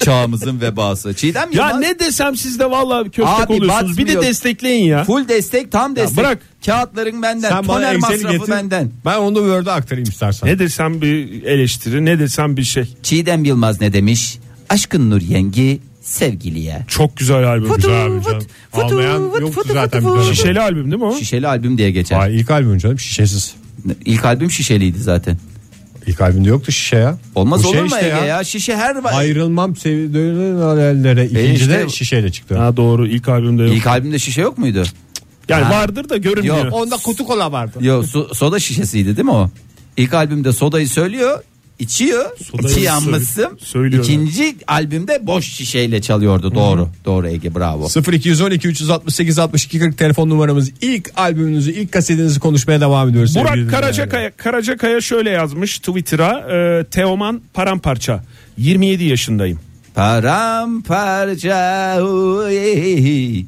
D: Çağımızın vebası. Çiğdem
C: Ya
D: Yılmaz-
C: ne desem siz de vallahi köftek
D: Abi
C: oluyorsunuz. Bir de
D: batmıyor.
C: destekleyin ya.
D: Full destek tam destek.
C: bırak.
D: Kağıtların benden.
C: Sen bana
D: toner
C: Excel'i
D: masrafı
C: getir.
D: benden.
B: Ben onu Word'e aktarayım istersen.
C: Ne desem bir eleştiri ne desem bir şey.
D: Çiğdem Yılmaz ne demiş? Aşkın Nur Yengi sevgiliye.
C: Çok güzel albüm.
D: Futu,
B: Güzel albüm canım. Almayan yoktu zaten bir dönem.
D: Şişeli
C: albüm değil mi o?
D: Şişeli albüm diye geçer.
B: Ay ilk albüm canım şişesiz.
D: İlk albüm şişeliydi zaten.
B: İlk albümde yoktu şişe ya.
D: Olmaz
B: Bu
D: olur
B: şey
D: mu
B: işte
D: Ege ya? Şişe her
B: Ayrılmam sevdiğin hayallere. İkincide
D: işte-
B: şişeyle çıktı.
C: Ha doğru ilk albümde
D: İlk albümde şişe yok muydu?
C: Yani
D: Ha.
C: vardır da görünmüyor.
D: Yok.
B: Onda kutu kola vardı.
D: Yo, so- soda şişesiydi değil mi o? İlk albümde sodayı söylüyor, içiyor.
B: Sodayı
D: içi
B: söyle-
D: yanmışsın.
B: söylüyor.
D: İkinci albümde boş şişeyle çalıyordu. Doğru. Doğru Ege bravo.
B: 0212 368 62 40 telefon numaramız. İlk albümünüzü, ilk kasetinizi konuşmaya devam ediyoruz. sevgili
C: Burak
B: dinleyenler.
C: Karacakaya, Karacakaya şöyle yazmış Twitter'a. E, Teoman paramparça. 27 yaşındayım.
D: Paramparça uy.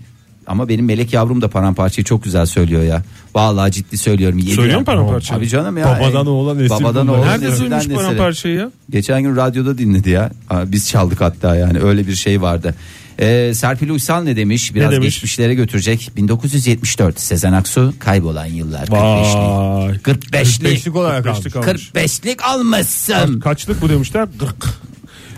D: ama benim melek yavrum da paramparçayı çok güzel söylüyor ya. Vallahi ciddi söylüyorum. Yedi
C: Söylüyor mu
D: ya.
C: paramparçayı?
D: Abi canım ya.
C: e,
B: Babadan oğula nesil
D: Babadan
B: bunlar.
D: oğula
B: Nerede
D: nesilden
B: duymuş
D: nesile.
C: paramparçayı ya?
D: Geçen gün radyoda dinledi ya. Aa, Biz çaldık hatta yani öyle bir şey vardı. Ee, Serpil Uysal ne demiş? Biraz
C: demiş?
D: geçmişlere götürecek. 1974 Sezen Aksu kaybolan yıllar. 45'lik. 45'lik.
C: 45'lik olarak almış. Ah,
D: 45'lik almışsın.
C: Kaç- kaçlık bu demişler? 40.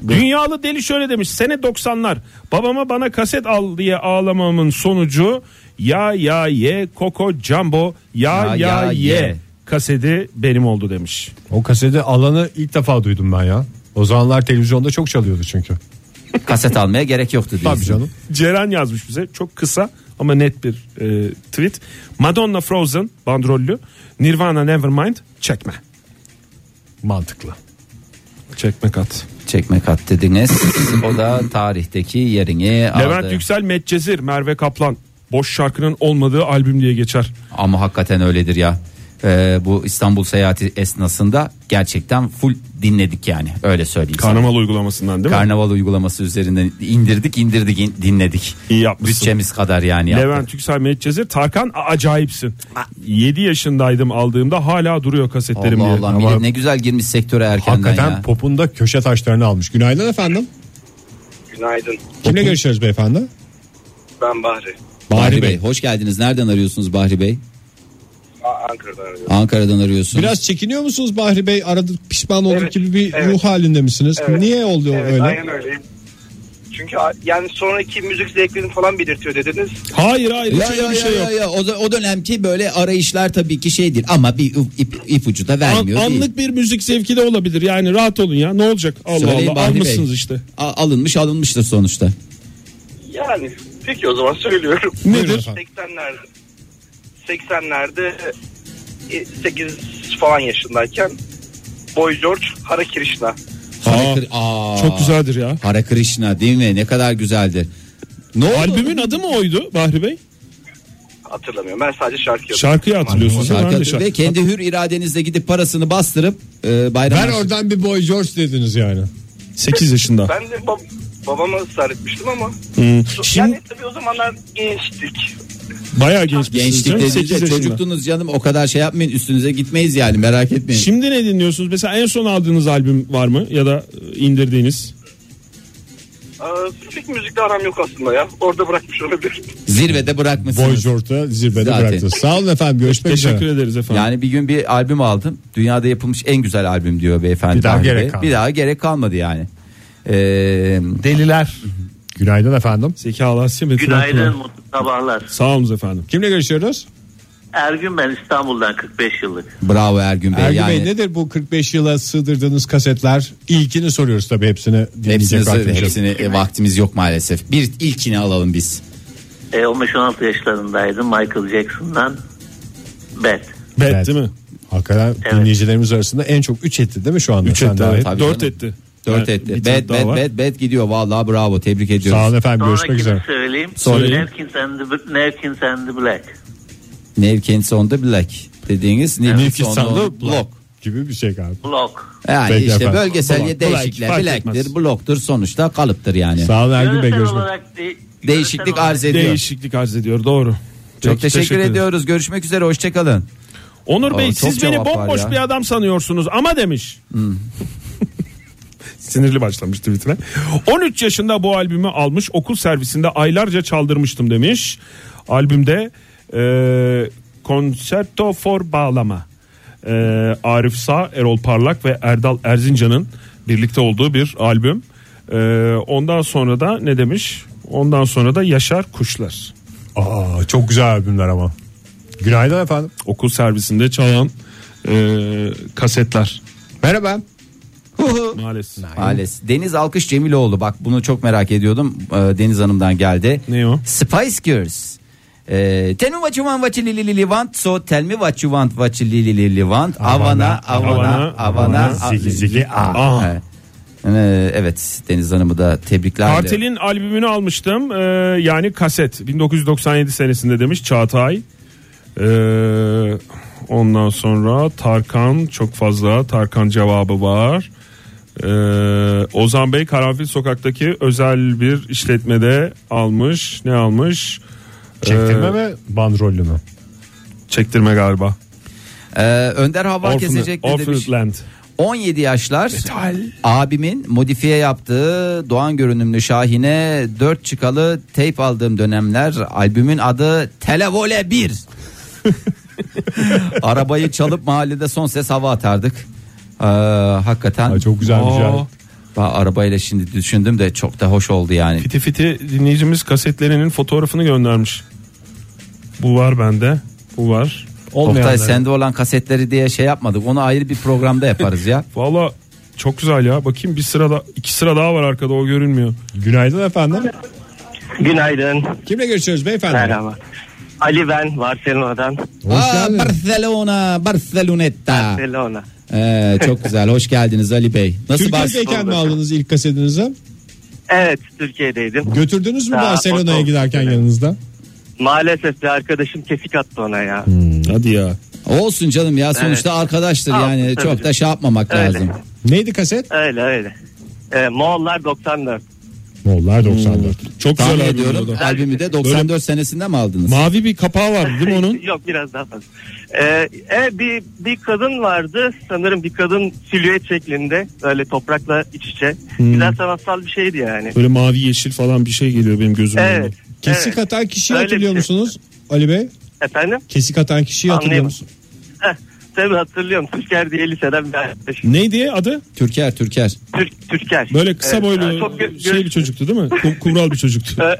C: Dünyalı deli şöyle demiş. Sene 90'lar. Babama bana kaset al diye ağlamamın sonucu ya ya ye Koko Jumbo ya ya,
B: Ya Ya
C: ye.
B: Ye.
C: kaseti benim oldu demiş.
B: O kaseti alanı ilk defa duydum ben ya. O zamanlar televizyonda çok çalıyordu çünkü.
C: ah.
D: Kaset almaya gerek yoktu diyorsun.
B: Tabii canım.
C: Ceren yazmış bize. Çok kısa ama net bir e, tweet. Madonna Frozen bandrollü. Nirvana Nevermind çekme.
B: Mantıklı.
C: Çekmek at.
D: Çekmek at dediniz. o da tarihteki yerini aldı.
C: Levent Yüksel Medcezir Merve Kaplan. Boş şarkının olmadığı albüm diye geçer.
D: Ama hakikaten öyledir ya. Ee, bu İstanbul seyahati esnasında gerçekten full dinledik yani öyle söyleyeyim. sana.
C: Karnaval uygulamasından değil mi?
D: Karnaval uygulaması üzerinden indirdik indirdik in- dinledik.
C: İyi yapmışsın.
D: Bütçemiz kadar yani yaptık.
C: Levent Yüksel Medcezir Tarkan a- acayipsin. 7 yaşındaydım aldığımda hala duruyor kasetlerim
D: Allah
C: diye.
D: Allah millet ne güzel girmiş sektöre erkenden
B: Hakikaten
D: ya.
B: popunda köşe taşlarını almış. Günaydın efendim.
I: Günaydın.
B: Kimle görüşüyoruz beyefendi?
I: Ben Bahri.
D: Bahri, Bey. hoş geldiniz. Nereden arıyorsunuz Bahri Bey?
I: A- Ankara'dan arıyorum.
D: Ankara'dan arıyorsunuz.
B: Biraz çekiniyor musunuz Bahri Bey? Aradık pişman olduk
I: Evet,
B: gibi bir
I: evet.
B: ruh halinde misiniz?
I: Evet.
B: Niye oldu
I: Evet,
B: öyle?
I: aynen öyleyim. Çünkü a- yani sonraki müzik zevklerini falan belirtiyor dediniz.
C: Hayır hayır
D: Ya, ya,
B: şey
C: şey
D: ya, ya, ya. O, da- o dönemki böyle arayışlar tabii ki şeydir ama bir ip, ip- ipucu da vermiyor değil.
C: anlık bir müzik zevki de olabilir. Yani rahat olun ya. Ne olacak? Allah
D: Söyleyin
C: Allah
D: Bahri Bey.
C: almışsınız işte.
D: A- alınmış alınmıştır sonuçta.
I: Yani peki o zaman söylüyorum.
D: Nedir?
I: 80'lerde 80'lerde 8 e, falan yaşındayken Boy George Hare Krishna.
D: Hare Kri- Aa.
C: çok güzeldir ya.
D: Hare Krishna değil mi? Ne kadar güzeldir. Ne oldu?
C: Albümün adı mı oydu Bahri Bey?
I: Hatırlamıyorum. Ben sadece şarkıyı
C: Şarkıyı hatırlıyorsun.
I: Hatırlamıyorum.
D: Şarkı
C: Ben de
D: adı ve kendi hür iradenizle gidip parasını bastırıp e, bayram
B: Ver
D: harçlığı-
B: oradan bir Boy George dediniz yani.
C: 8 yaşında.
I: Ben de bab- babama ısrar etmiştim ama
C: Hmm.
I: yani tabii o zamanlar gençtik.
C: Bayağı genç
B: şey
D: Gençlik dediğinizde çocuktunuz canım o kadar şey yapmayın üstünüze gitmeyiz yani merak etmeyin.
C: Şimdi ne dinliyorsunuz? Mesela en son aldığınız albüm var mı? Ya da e, indirdiğiniz?
I: Ee, pek müzikle aram yok aslında ya. Orada bırakmış olabilirim.
D: Zirvede bırakmışsınız.
B: Boy George'da zirvede
D: Zaten.
B: bıraktı. Sağ olun efendim görüşmek üzere.
C: Teşekkür ederiz efendim.
D: Yani bir gün bir albüm aldım. Dünyada yapılmış en güzel albüm diyor beyefendi.
B: Bir daha
D: Bahri
B: gerek
D: Bey.
B: kalmadı.
D: Bir daha gerek kalmadı yani. Ee,
B: Deliler. Günaydın efendim.
C: Zeki Alasya Metin
L: Günaydın,
C: Akpınar.
L: mutlu sabahlar.
C: Sağ olun efendim.
B: Kimle görüşüyoruz?
L: Ergün ben İstanbul'dan 45 yıllık.
D: bravo Ergün Bey.
B: Ergün
D: yani,
B: Bey nedir bu 45 yıla sığdırdığınız kasetler? İlkini soruyoruz tabii hepsini. dinleyecek
D: Hepsini,
B: vaktimiz yok.
D: hepsini e, vaktimiz yok maalesef. Bir ilkini alalım biz.
M: E, 15-16 yaşlarındaydım Michael Jackson'dan Bad.
B: Bet değil mi? Hakikaten dinleyicilerimiz arasında en çok 3 etti değil mi şu anda?
C: 3
B: Sen
C: etti
B: dahil.
C: abi. Tabii Dört canım. etti.
D: Dört
C: Yani
D: etti.
C: bir tane
D: Bet
C: daha
D: bet
C: var.
D: bet bet gidiyor vallahi bravo tebrik ediyoruz.
B: Sağ olun efendim,
M: Sonrakini söyleyeyim.
D: Söyleyin.
M: Nevkins and, the, Nevkins and the Black.
D: Nevkins on the Black dediğiniz
B: Nefis
D: Nevkins on
B: sandı
D: the Block.
B: E, blok gibi bir şey galiba.
M: Blok.
D: Yani
B: Peki
D: işte
B: efendim.
D: bölgesel
B: Blok,
D: değişikler
B: blok, fark
D: bilektir, bloktur sonuçta kalıptır yani.
B: Sağ olun Ergün Bey görüşmek
M: olarak de-
D: Değişiklik arz ediyor.
C: Değişiklik arz ediyor doğru.
D: Çok
C: Peki,
D: teşekkür,
C: ederim.
D: ediyoruz. Görüşmek üzere hoşçakalın.
C: Onur Bey
D: Aa, çok
C: siz beni
D: cevap var
C: bomboş
D: ya.
C: bir adam sanıyorsunuz ama demiş. Hmm. Sinirli başlamış tweetine. 13 yaşında bu albümü almış okul servisinde aylarca çaldırmıştım demiş. Albümde e, Concerto for Bağlama. E, Arif Sağ, Erol Parlak ve Erdal Erzincan'ın birlikte olduğu bir albüm. E, ondan sonra da ne demiş? Ondan sonra da Yaşar Kuşlar.
B: Aa, çok güzel albümler ama. Günaydın efendim.
C: Okul servisinde çalan e, kasetler.
B: Merhaba.
C: Maalesef.
D: Maalesef. Deniz Alkış Cemiloğlu bak bunu çok merak ediyordum. Ee, Deniz Hanım'dan geldi.
C: Ne o?
D: Spice Girls. Ee, tell me what you want what you li- li- li- li want so tell me what you want what you li- li- li- li want avana avana avana
B: zili zili
D: a. Evet. Ee, Evet Deniz Hanım'ı da tebriklerle.
C: Artel'in albümünü almıştım. Ee, yani kaset. 1997 senesinde demiş Çağatay. Ee, ondan sonra Tarkan çok fazla Tarkan cevabı var. Ee, Ozan Bey Karanfil Sokak'taki özel bir işletmede almış. Ne almış?
B: Çektirme
C: Ee,
B: mi bandrollü mü?
C: Çektirme galiba.
D: Ee, Önder Hava
C: Orphan-
D: kesecek ne
C: Orphan
D: demiş?
C: Land.
D: 17 yaşlar
C: E,
D: abimin modifiye yaptığı Doğan görünümlü Şahin'e 4 çıkalı teyp aldığım dönemler albümün adı Televole 1. Arabayı çalıp mahallede son ses hava atardık. Ee, hakikaten. çok
B: güzelmiş ya.
D: arabayla şimdi düşündüm de çok da hoş oldu yani.
C: Fiti Fiti dinleyicimiz kasetlerinin fotoğrafını göndermiş. Bu var bende. Bu var.
D: Oktay sende olan kasetleri diye şey yapmadık. Onu ayrı bir programda yaparız ya.
C: Valla çok güzel ya. Bakayım bir sıra da, iki sıra daha var arkada o görünmüyor.
B: Günaydın efendim.
N: Günaydın.
B: Kimle görüşüyoruz beyefendi?
N: Merhaba. Ali ben Barcelona'dan.
D: Aa, Barcelona, Barceloneta.
N: Barcelona.
D: Ee, çok güzel. Hoş geldiniz Ali Bey. Nasıl
B: Türkiye'deyken mi
D: Barcelona?
B: aldınız ilk kasetinizi?
N: Evet Türkiye'deydim.
B: Götürdünüz mü
N: Daha
B: Barcelona'ya
N: otobüs-
B: giderken yanınızda?
N: Maalesef bir arkadaşım kesik attı ona ya.
B: Hadi ya.
D: Olsun canım ya sonuçta
N: Evet.
D: arkadaştır
N: Aldım
D: yani
N: tabii
D: çok da
N: canım.
D: şey yapmamak
N: Öyle.
D: lazım.
B: Neydi kaset?
N: Öyle öyle. Ee, Moğollar 94.
B: Moğollar 94.
C: Hmm. Çok
D: Tahmin
C: güzel
D: ediyorum
C: albümdü o da.
D: albümü de 94 senesinde mi aldınız?
C: Mavi bir kapağı vardı değil mi onun?
N: Yok biraz daha fazla. Ee, e, bir, bir kadın vardı sanırım bir kadın silüet şeklinde böyle toprakla iç içe.
C: Hmm.
N: Güzel sanatsal bir şeydi yani.
C: Böyle mavi yeşil falan bir şey geliyor benim gözümün
N: Evet,
C: önüne.
B: Kesik
N: Evet.
B: atan kişiyi
N: Öyle
B: hatırlıyor
N: bir şey.
B: musunuz Ali Bey?
N: Efendim?
B: Kesik atan kişiyi hatırlıyor
N: Anlayamadım.
B: musunuz?
N: Heh, tabii hatırlıyorum. Türker diye liseden bir arkadaşım.
C: Neydi adı?
D: Türker Türker.
N: Türk, Türker.
C: Böyle kısa
N: Evet,
C: boylu
N: çok gö-
C: şey bir çocuktu değil mi? Ku- Kumral bir çocuktu.
N: gö-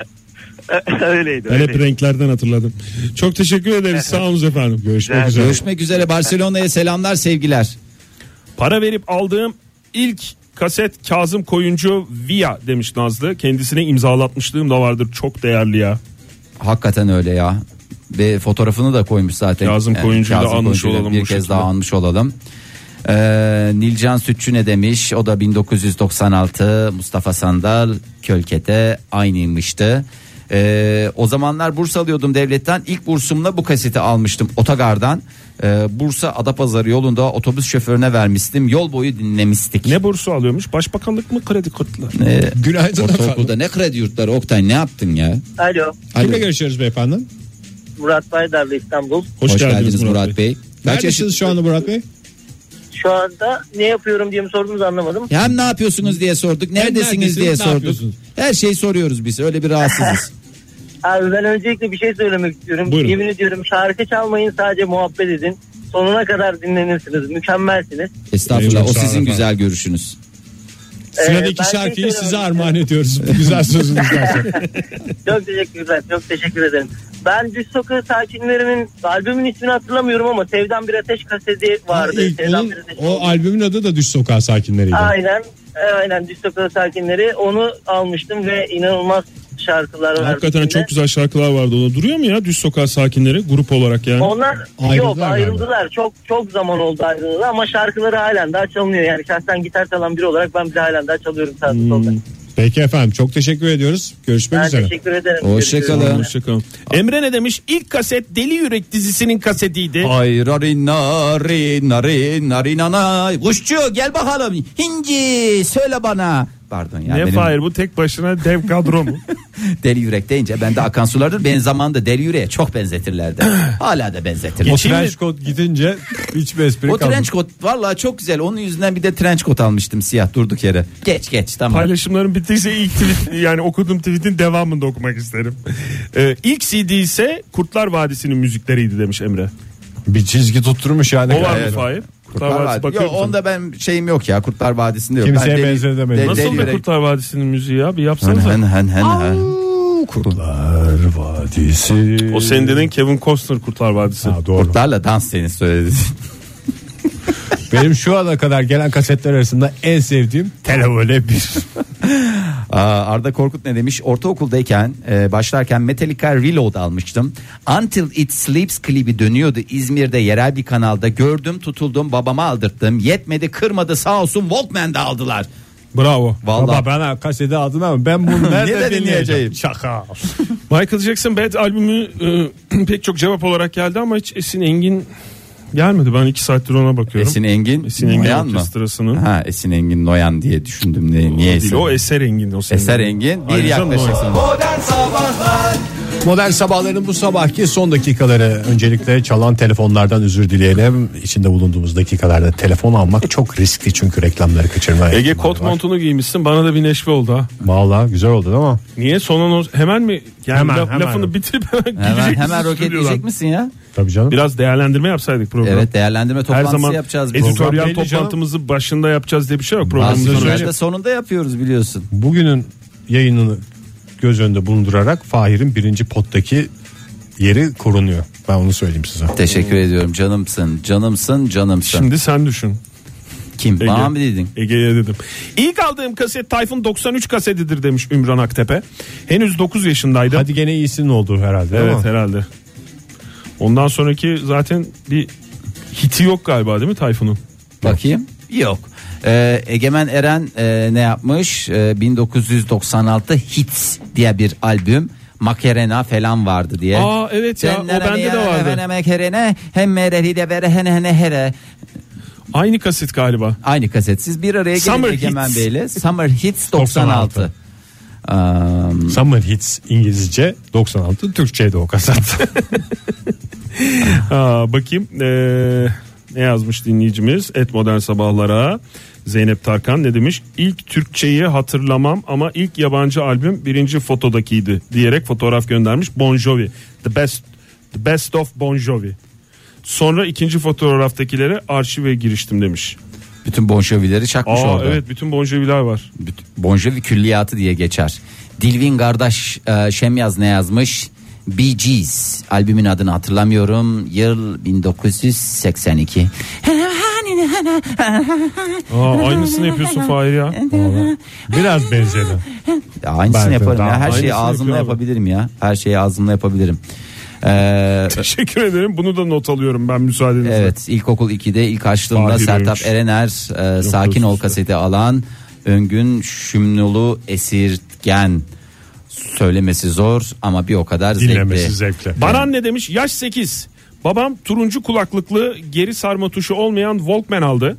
N: öyleydi.
C: Ben
N: öyleydi.
C: hep renklerden hatırladım. Çok teşekkür ederiz. Sağ olun efendim.
B: Görüşmek üzere.
D: Görüşmek üzere Barcelona'ya selamlar sevgiler.
C: Para verip aldığım ilk kaset Kazım Koyuncu Via demiş Nazlı. Kendisine imzalatmışlığım da vardır. Çok değerli ya.
D: Hakikaten öyle ya. Ve fotoğrafını da koymuş zaten. Ee,
C: Kazım Koyuncu'yu da
D: Kazım
C: anmış
D: Koyuncu'yu da
C: olalım
D: Bir
C: bu
D: kez
C: şekilde.
D: daha anmış olalım. Ee, Nilcan Sütçü ne demiş? O da 1996 Mustafa Sandal Kölke'de aynıymıştı. Ee, o zamanlar burs alıyordum devletten. İlk bursumla bu kaseti almıştım otogardan. Ee, Bursa Adapazarı yolunda otobüs şoförüne vermiştim. Yol boyu dinlemiştik.
C: Ne bursu alıyormuş? Başbakanlık mı kredi kartları?
D: Ee,
B: Günaydın efendim.
D: Ortaokulda ne kredi yurtları Oktay ne yaptın ya?
L: Alo
B: Kimle
D: Alo.
B: görüşüyoruz beyefendi?
L: Murat Baydarlı İstanbul.
D: Hoş, geldiniz, Murat, Bey. Kaç yaşın-
B: Neredesiniz şu anda Murat Bey?
L: Şu anda ne yapıyorum diye mi sordunuz anlamadım.
D: Ya Hem ne yapıyorsunuz diye sorduk, neredesiniz
B: neredesiniz,
D: diye
B: ne
D: sorduk.
B: yapıyorsunuz?
D: Her şeyi soruyoruz biz. Öyle bir rahatsızız.
L: Abi ben öncelikle bir şey söylemek istiyorum.
D: Buyurun.
L: Yemin ediyorum şarkı çalmayın sadece muhabbet edin. Sonuna kadar dinlenirsiniz. Mükemmelsiniz.
D: Estağfurullah.
B: Eyvallah,
D: o
B: sağ olun
D: sizin
B: efendim.
D: güzel görüşünüz.
B: Sıradaki
L: ben şey
B: şarkıyı
L: söylemek
B: size armağan ediyoruz. Bu güzel sözünüzden sonra.
L: Çok teşekkürler. Çok teşekkür ederim. Ben Düz Sokağı Sakinleri'nin albümün ismini hatırlamıyorum ama Sevdan Bir Ateş kaseti vardı.
B: İlk
L: Sevdan
B: onun-
L: Bir Ateş.
B: o albümün adı da Düş Sokağı Sakinleriydi.
L: Aynen. e, Aynen Düz Sokağı Sakinleri. Onu almıştım ve inanılmaz şarkılar var.
O: Hakikaten
L: içinde.
O: çok güzel şarkılar vardı. O duruyor mu ya düz sokağa sakinleri grup olarak yani?
L: Onlar yok ayrıldılar. Çok çok zaman oldu ayrıldılar ama şarkıları halen daha çalınıyor. Yani şahsen gitar çalan biri olarak ben bile halen daha çalıyorum sağda solda.
B: Peki efendim çok teşekkür ediyoruz. Görüşmek
L: Ben
B: üzere.
L: teşekkür ederim.
B: Hoşçakalın.
C: Hoşçakalın. Emre ne demiş? İlk kaset Deli Yürek dizisinin kasetiydi.
D: Ay rarin narin narin narin anay. Kuşçu gel bakalım. Hinci söyle bana. Pardon ya.
C: ne
D: benim-
C: Fahir bu tek başına dev kadro mu?
D: Deli yürek deyince ben de akan sulardır. Benim zamanında deli yüreğe çok benzetirlerdi. Hala da benzetirler.
B: O trench coat gidince hiçbir espri
D: O
B: kalmadı.
D: trench coat valla çok güzel. Onun yüzünden bir de trench coat almıştım siyah durduk yere. Geç geç tamam.
C: Paylaşımların bittiyse ilk tweet yani okuduğum tweetin devamını da okumak isterim. Ee, ilk CD ise Kurtlar Vadisi'nin müzikleriydi demiş Emre.
B: Bir çizgi tutturmuş yani.
C: O var mı
D: Evet.
C: Fahir?
D: Kurtlar
C: Kurtlar, Vadisi
D: Vadisi.
C: bakıyor
D: Yok,
C: musun?
D: onda ben şeyim yok ya Kurtlar Vadisi'nde yok.
B: Kimseye
D: ben
B: benzetemedim.
D: de-
C: Nasıl
D: deli Hani
C: bir
D: yürek-
C: Kurtlar Vadisi'nin müziği ya? Bir yapsanıza.
D: Hen hen hen hen.
B: Kurtlar Vadisi.
D: hani-
C: O senin dediğin Kevin Costner Kurtlar Vadisi.
D: Kurtlarla dans seni söyledi.
B: Benim şu ana kadar gelen kasetler arasında en sevdiğim Televole 1.
D: Aa, Arda Korkut ne demiş? Ortaokuldayken e, başlarken Metallica Reload almıştım. Until It Sleeps klibi dönüyordu. İzmir'de yerel bir kanalda gördüm, tutuldum, babama aldırttım. Yetmedi, kırmadı. Sağ olsun Walkman de aldılar.
B: Bravo.
D: Vallahi.
B: Baba bana kaseti aldın ama ben bunu nerede
D: Nerede
B: dinleyeceğim?
D: dinleyeceğim?
B: Şaka.
C: Michael Jackson Bad albümü e, pek çok cevap olarak geldi ama hiç Esin Engin gelmedi. Ben iki saattir ona bakıyorum.
D: Esin Engin,
C: Esin Engin
D: Noyan mı?
C: orkestrasının.
D: Ha, Esin Engin Noyan diye düşündüm ne, niye
C: Değil, o Eser Engin. O senin.
D: Eser Engin bir
C: Ayrıca
D: yaklaşırsın.
B: Modern sabahların bu sabahki son dakikaları öncelikle çalan telefonlardan özür dileyelim. İçinde bulunduğumuz dakikalarda telefon almak çok riskli çünkü reklamları kaçırmaya.
C: Ege kot montunu giymişsin bana da bir neşve oldu ha.
B: Vallahi güzel oldu değil mi?
C: Niye son anons hemen mi? Yani
B: Hemen,
C: laf-
B: hemen.
C: Lafını bitirip hemen gidecek
D: Hemen,
C: misin
D: hemen
C: stüdyodan?
D: roketleyecek misin ya?
B: Tabii canım.
C: Biraz değerlendirme yapsaydık programı.
D: Evet değerlendirme toplantısı
C: Her zaman
D: yapacağız. biz.
C: editoryal
B: Program belli
C: toplantımızı başında yapacağız diye bir şey yok. Programımızın
D: Aslında
C: önünde.
D: sonunda- sonunda yapıyoruz biliyorsun.
B: Bugünün yayınını göz önünde bulundurarak Fahir'in birinci pottaki yeri korunuyor. Ben onu söyleyeyim size.
D: Teşekkür ediyorum canımsın canımsın canımsın.
C: Şimdi sen düşün.
D: Kim?
C: Ege.
D: Bana mı dedin?
C: Ege'ye dedim. İlk aldığım kaset Tayfun 93 kasetidir demiş Ümran Aktepe. Henüz 9 yaşındaydım.
B: Hadi gene iyisinin olduğu herhalde. değil
C: evet
B: mi?
C: herhalde. Ondan sonraki zaten bir hiti yok galiba değil mi Tayfun'un?
D: Bakayım. Yok. Ee, Egemen Eren e, ne yapmış? Ee, 1996 Hits diye bir albüm. Makarena falan vardı diye.
C: Aa, evet ya, o
D: hani
C: bende de vardı.
D: Makarena hem mereri de vere hene hene here.
C: Aynı kaset galiba.
D: Aynı kaset. Siz bir araya gelin
C: Summer
D: Egemen
C: Hits.
D: Bey'le. Summer Hits 96. Am,
B: Summer Hits İngilizce 96 Türkçe'de Şey o kasat.
C: Aa, bakayım ee, ne yazmış dinleyicimiz et modern sabahlara Zeynep Tarkan ne demiş İlk Türkçeyi hatırlamam ama ilk yabancı albüm birinci fotodakiydi diyerek fotoğraf göndermiş Bon Jovi the best the best of Bon Jovi sonra ikinci fotoğraftakilere arşive giriştim demiş
D: bütün Bon Jovi'leri çakmış
C: Aa,
D: orada.
C: evet bütün Bon Jovi'ler var
D: Büt- Bon Jovi külliyatı diye geçer. Dilvin kardeş e, Şemyaz ne yazmış? Bee Gees albümün adını hatırlamıyorum. Yıl 1982.
C: Aa, aynısını yapıyorsun Fahir ya
B: Biraz benzedi.
D: Ya Aynısını
B: Ben de
D: yaparım ya.
B: daha
D: Her şeyi
C: aynısını
D: ağzımla
C: yapıyor abi.
D: yapabilirim ya. Her şeyi ağzımla yapabilirim. Ee,
C: teşekkür ederim bunu da not alıyorum ben müsaadenizle
D: evet ilkokul 2'de ilk açtığımda
C: Fahir
D: Sertap
C: Öğünç.
D: Erener e, Sakin Ol kaseti alan Öngün Şümnulu Esirgen söylemesi zor ama bir o kadar
B: Dinlemesi
D: zevkli.
B: zevkle.
C: Baran ne demiş? Yaş 8. Babam turuncu kulaklıklı geri sarma tuşu olmayan Walkman aldı.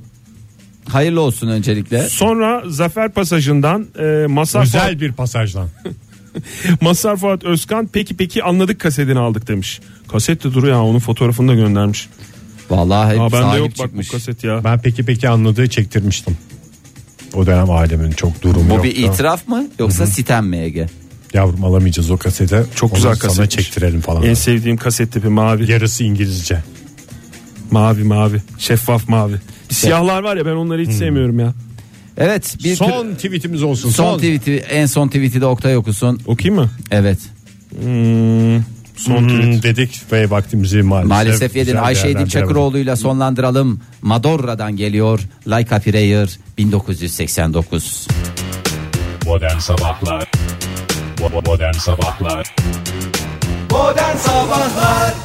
D: Hayırlı olsun öncelikle.
C: Sonra Zafer Pasajı'ndan e, Masar, Fuat,
B: Güzel bir pasajdan.
C: Masar Fuat Özkan peki peki anladık kasetini aldık demiş. Kaset de duruyor ha onun fotoğrafını da göndermiş.
D: Vallahi hep
C: Aa, bende
D: sahip
C: yok bak
D: çıkmış.
C: bu kaset ya.
B: Ben peki peki anladığı çektirmiştim. O dönem ailemin çok durumu
D: Bu
B: yoktu.
D: bir itiraf mı yoksa sitem mi Ege?
B: Yavrum alamayacağız o kasete. Çok
C: güzel
B: Sana
C: kasetmiş.
B: çektirelim falan.
C: En sevdiğim kaset tipi mavi.
B: Yarısı İngilizce.
C: Mavi mavi. Şeffaf mavi. Bir siyahlar var ya ben onları
D: Hmm.
C: hiç sevmiyorum ya.
D: Evet bir tür-
B: son tweetimiz olsun.
D: son,
B: Son,
D: tweet'i en son tweet'i de Oktay okusun.
C: Okuyayım mı?
D: Evet.
C: Hmm, son
B: Hmm,
C: tweet.
B: dedik ve vaktimizi maalesef.
D: Maalesef yedin
B: güzel
D: Ayşe Edip
B: değerlendiremedik.
D: Çakıroğlu'yla sonlandıralım. Madorra'dan geliyor Like a Prayer 1989.
P: Modern Sabahlar
Q: Modern Sabahlar
I: Modern Sabahlar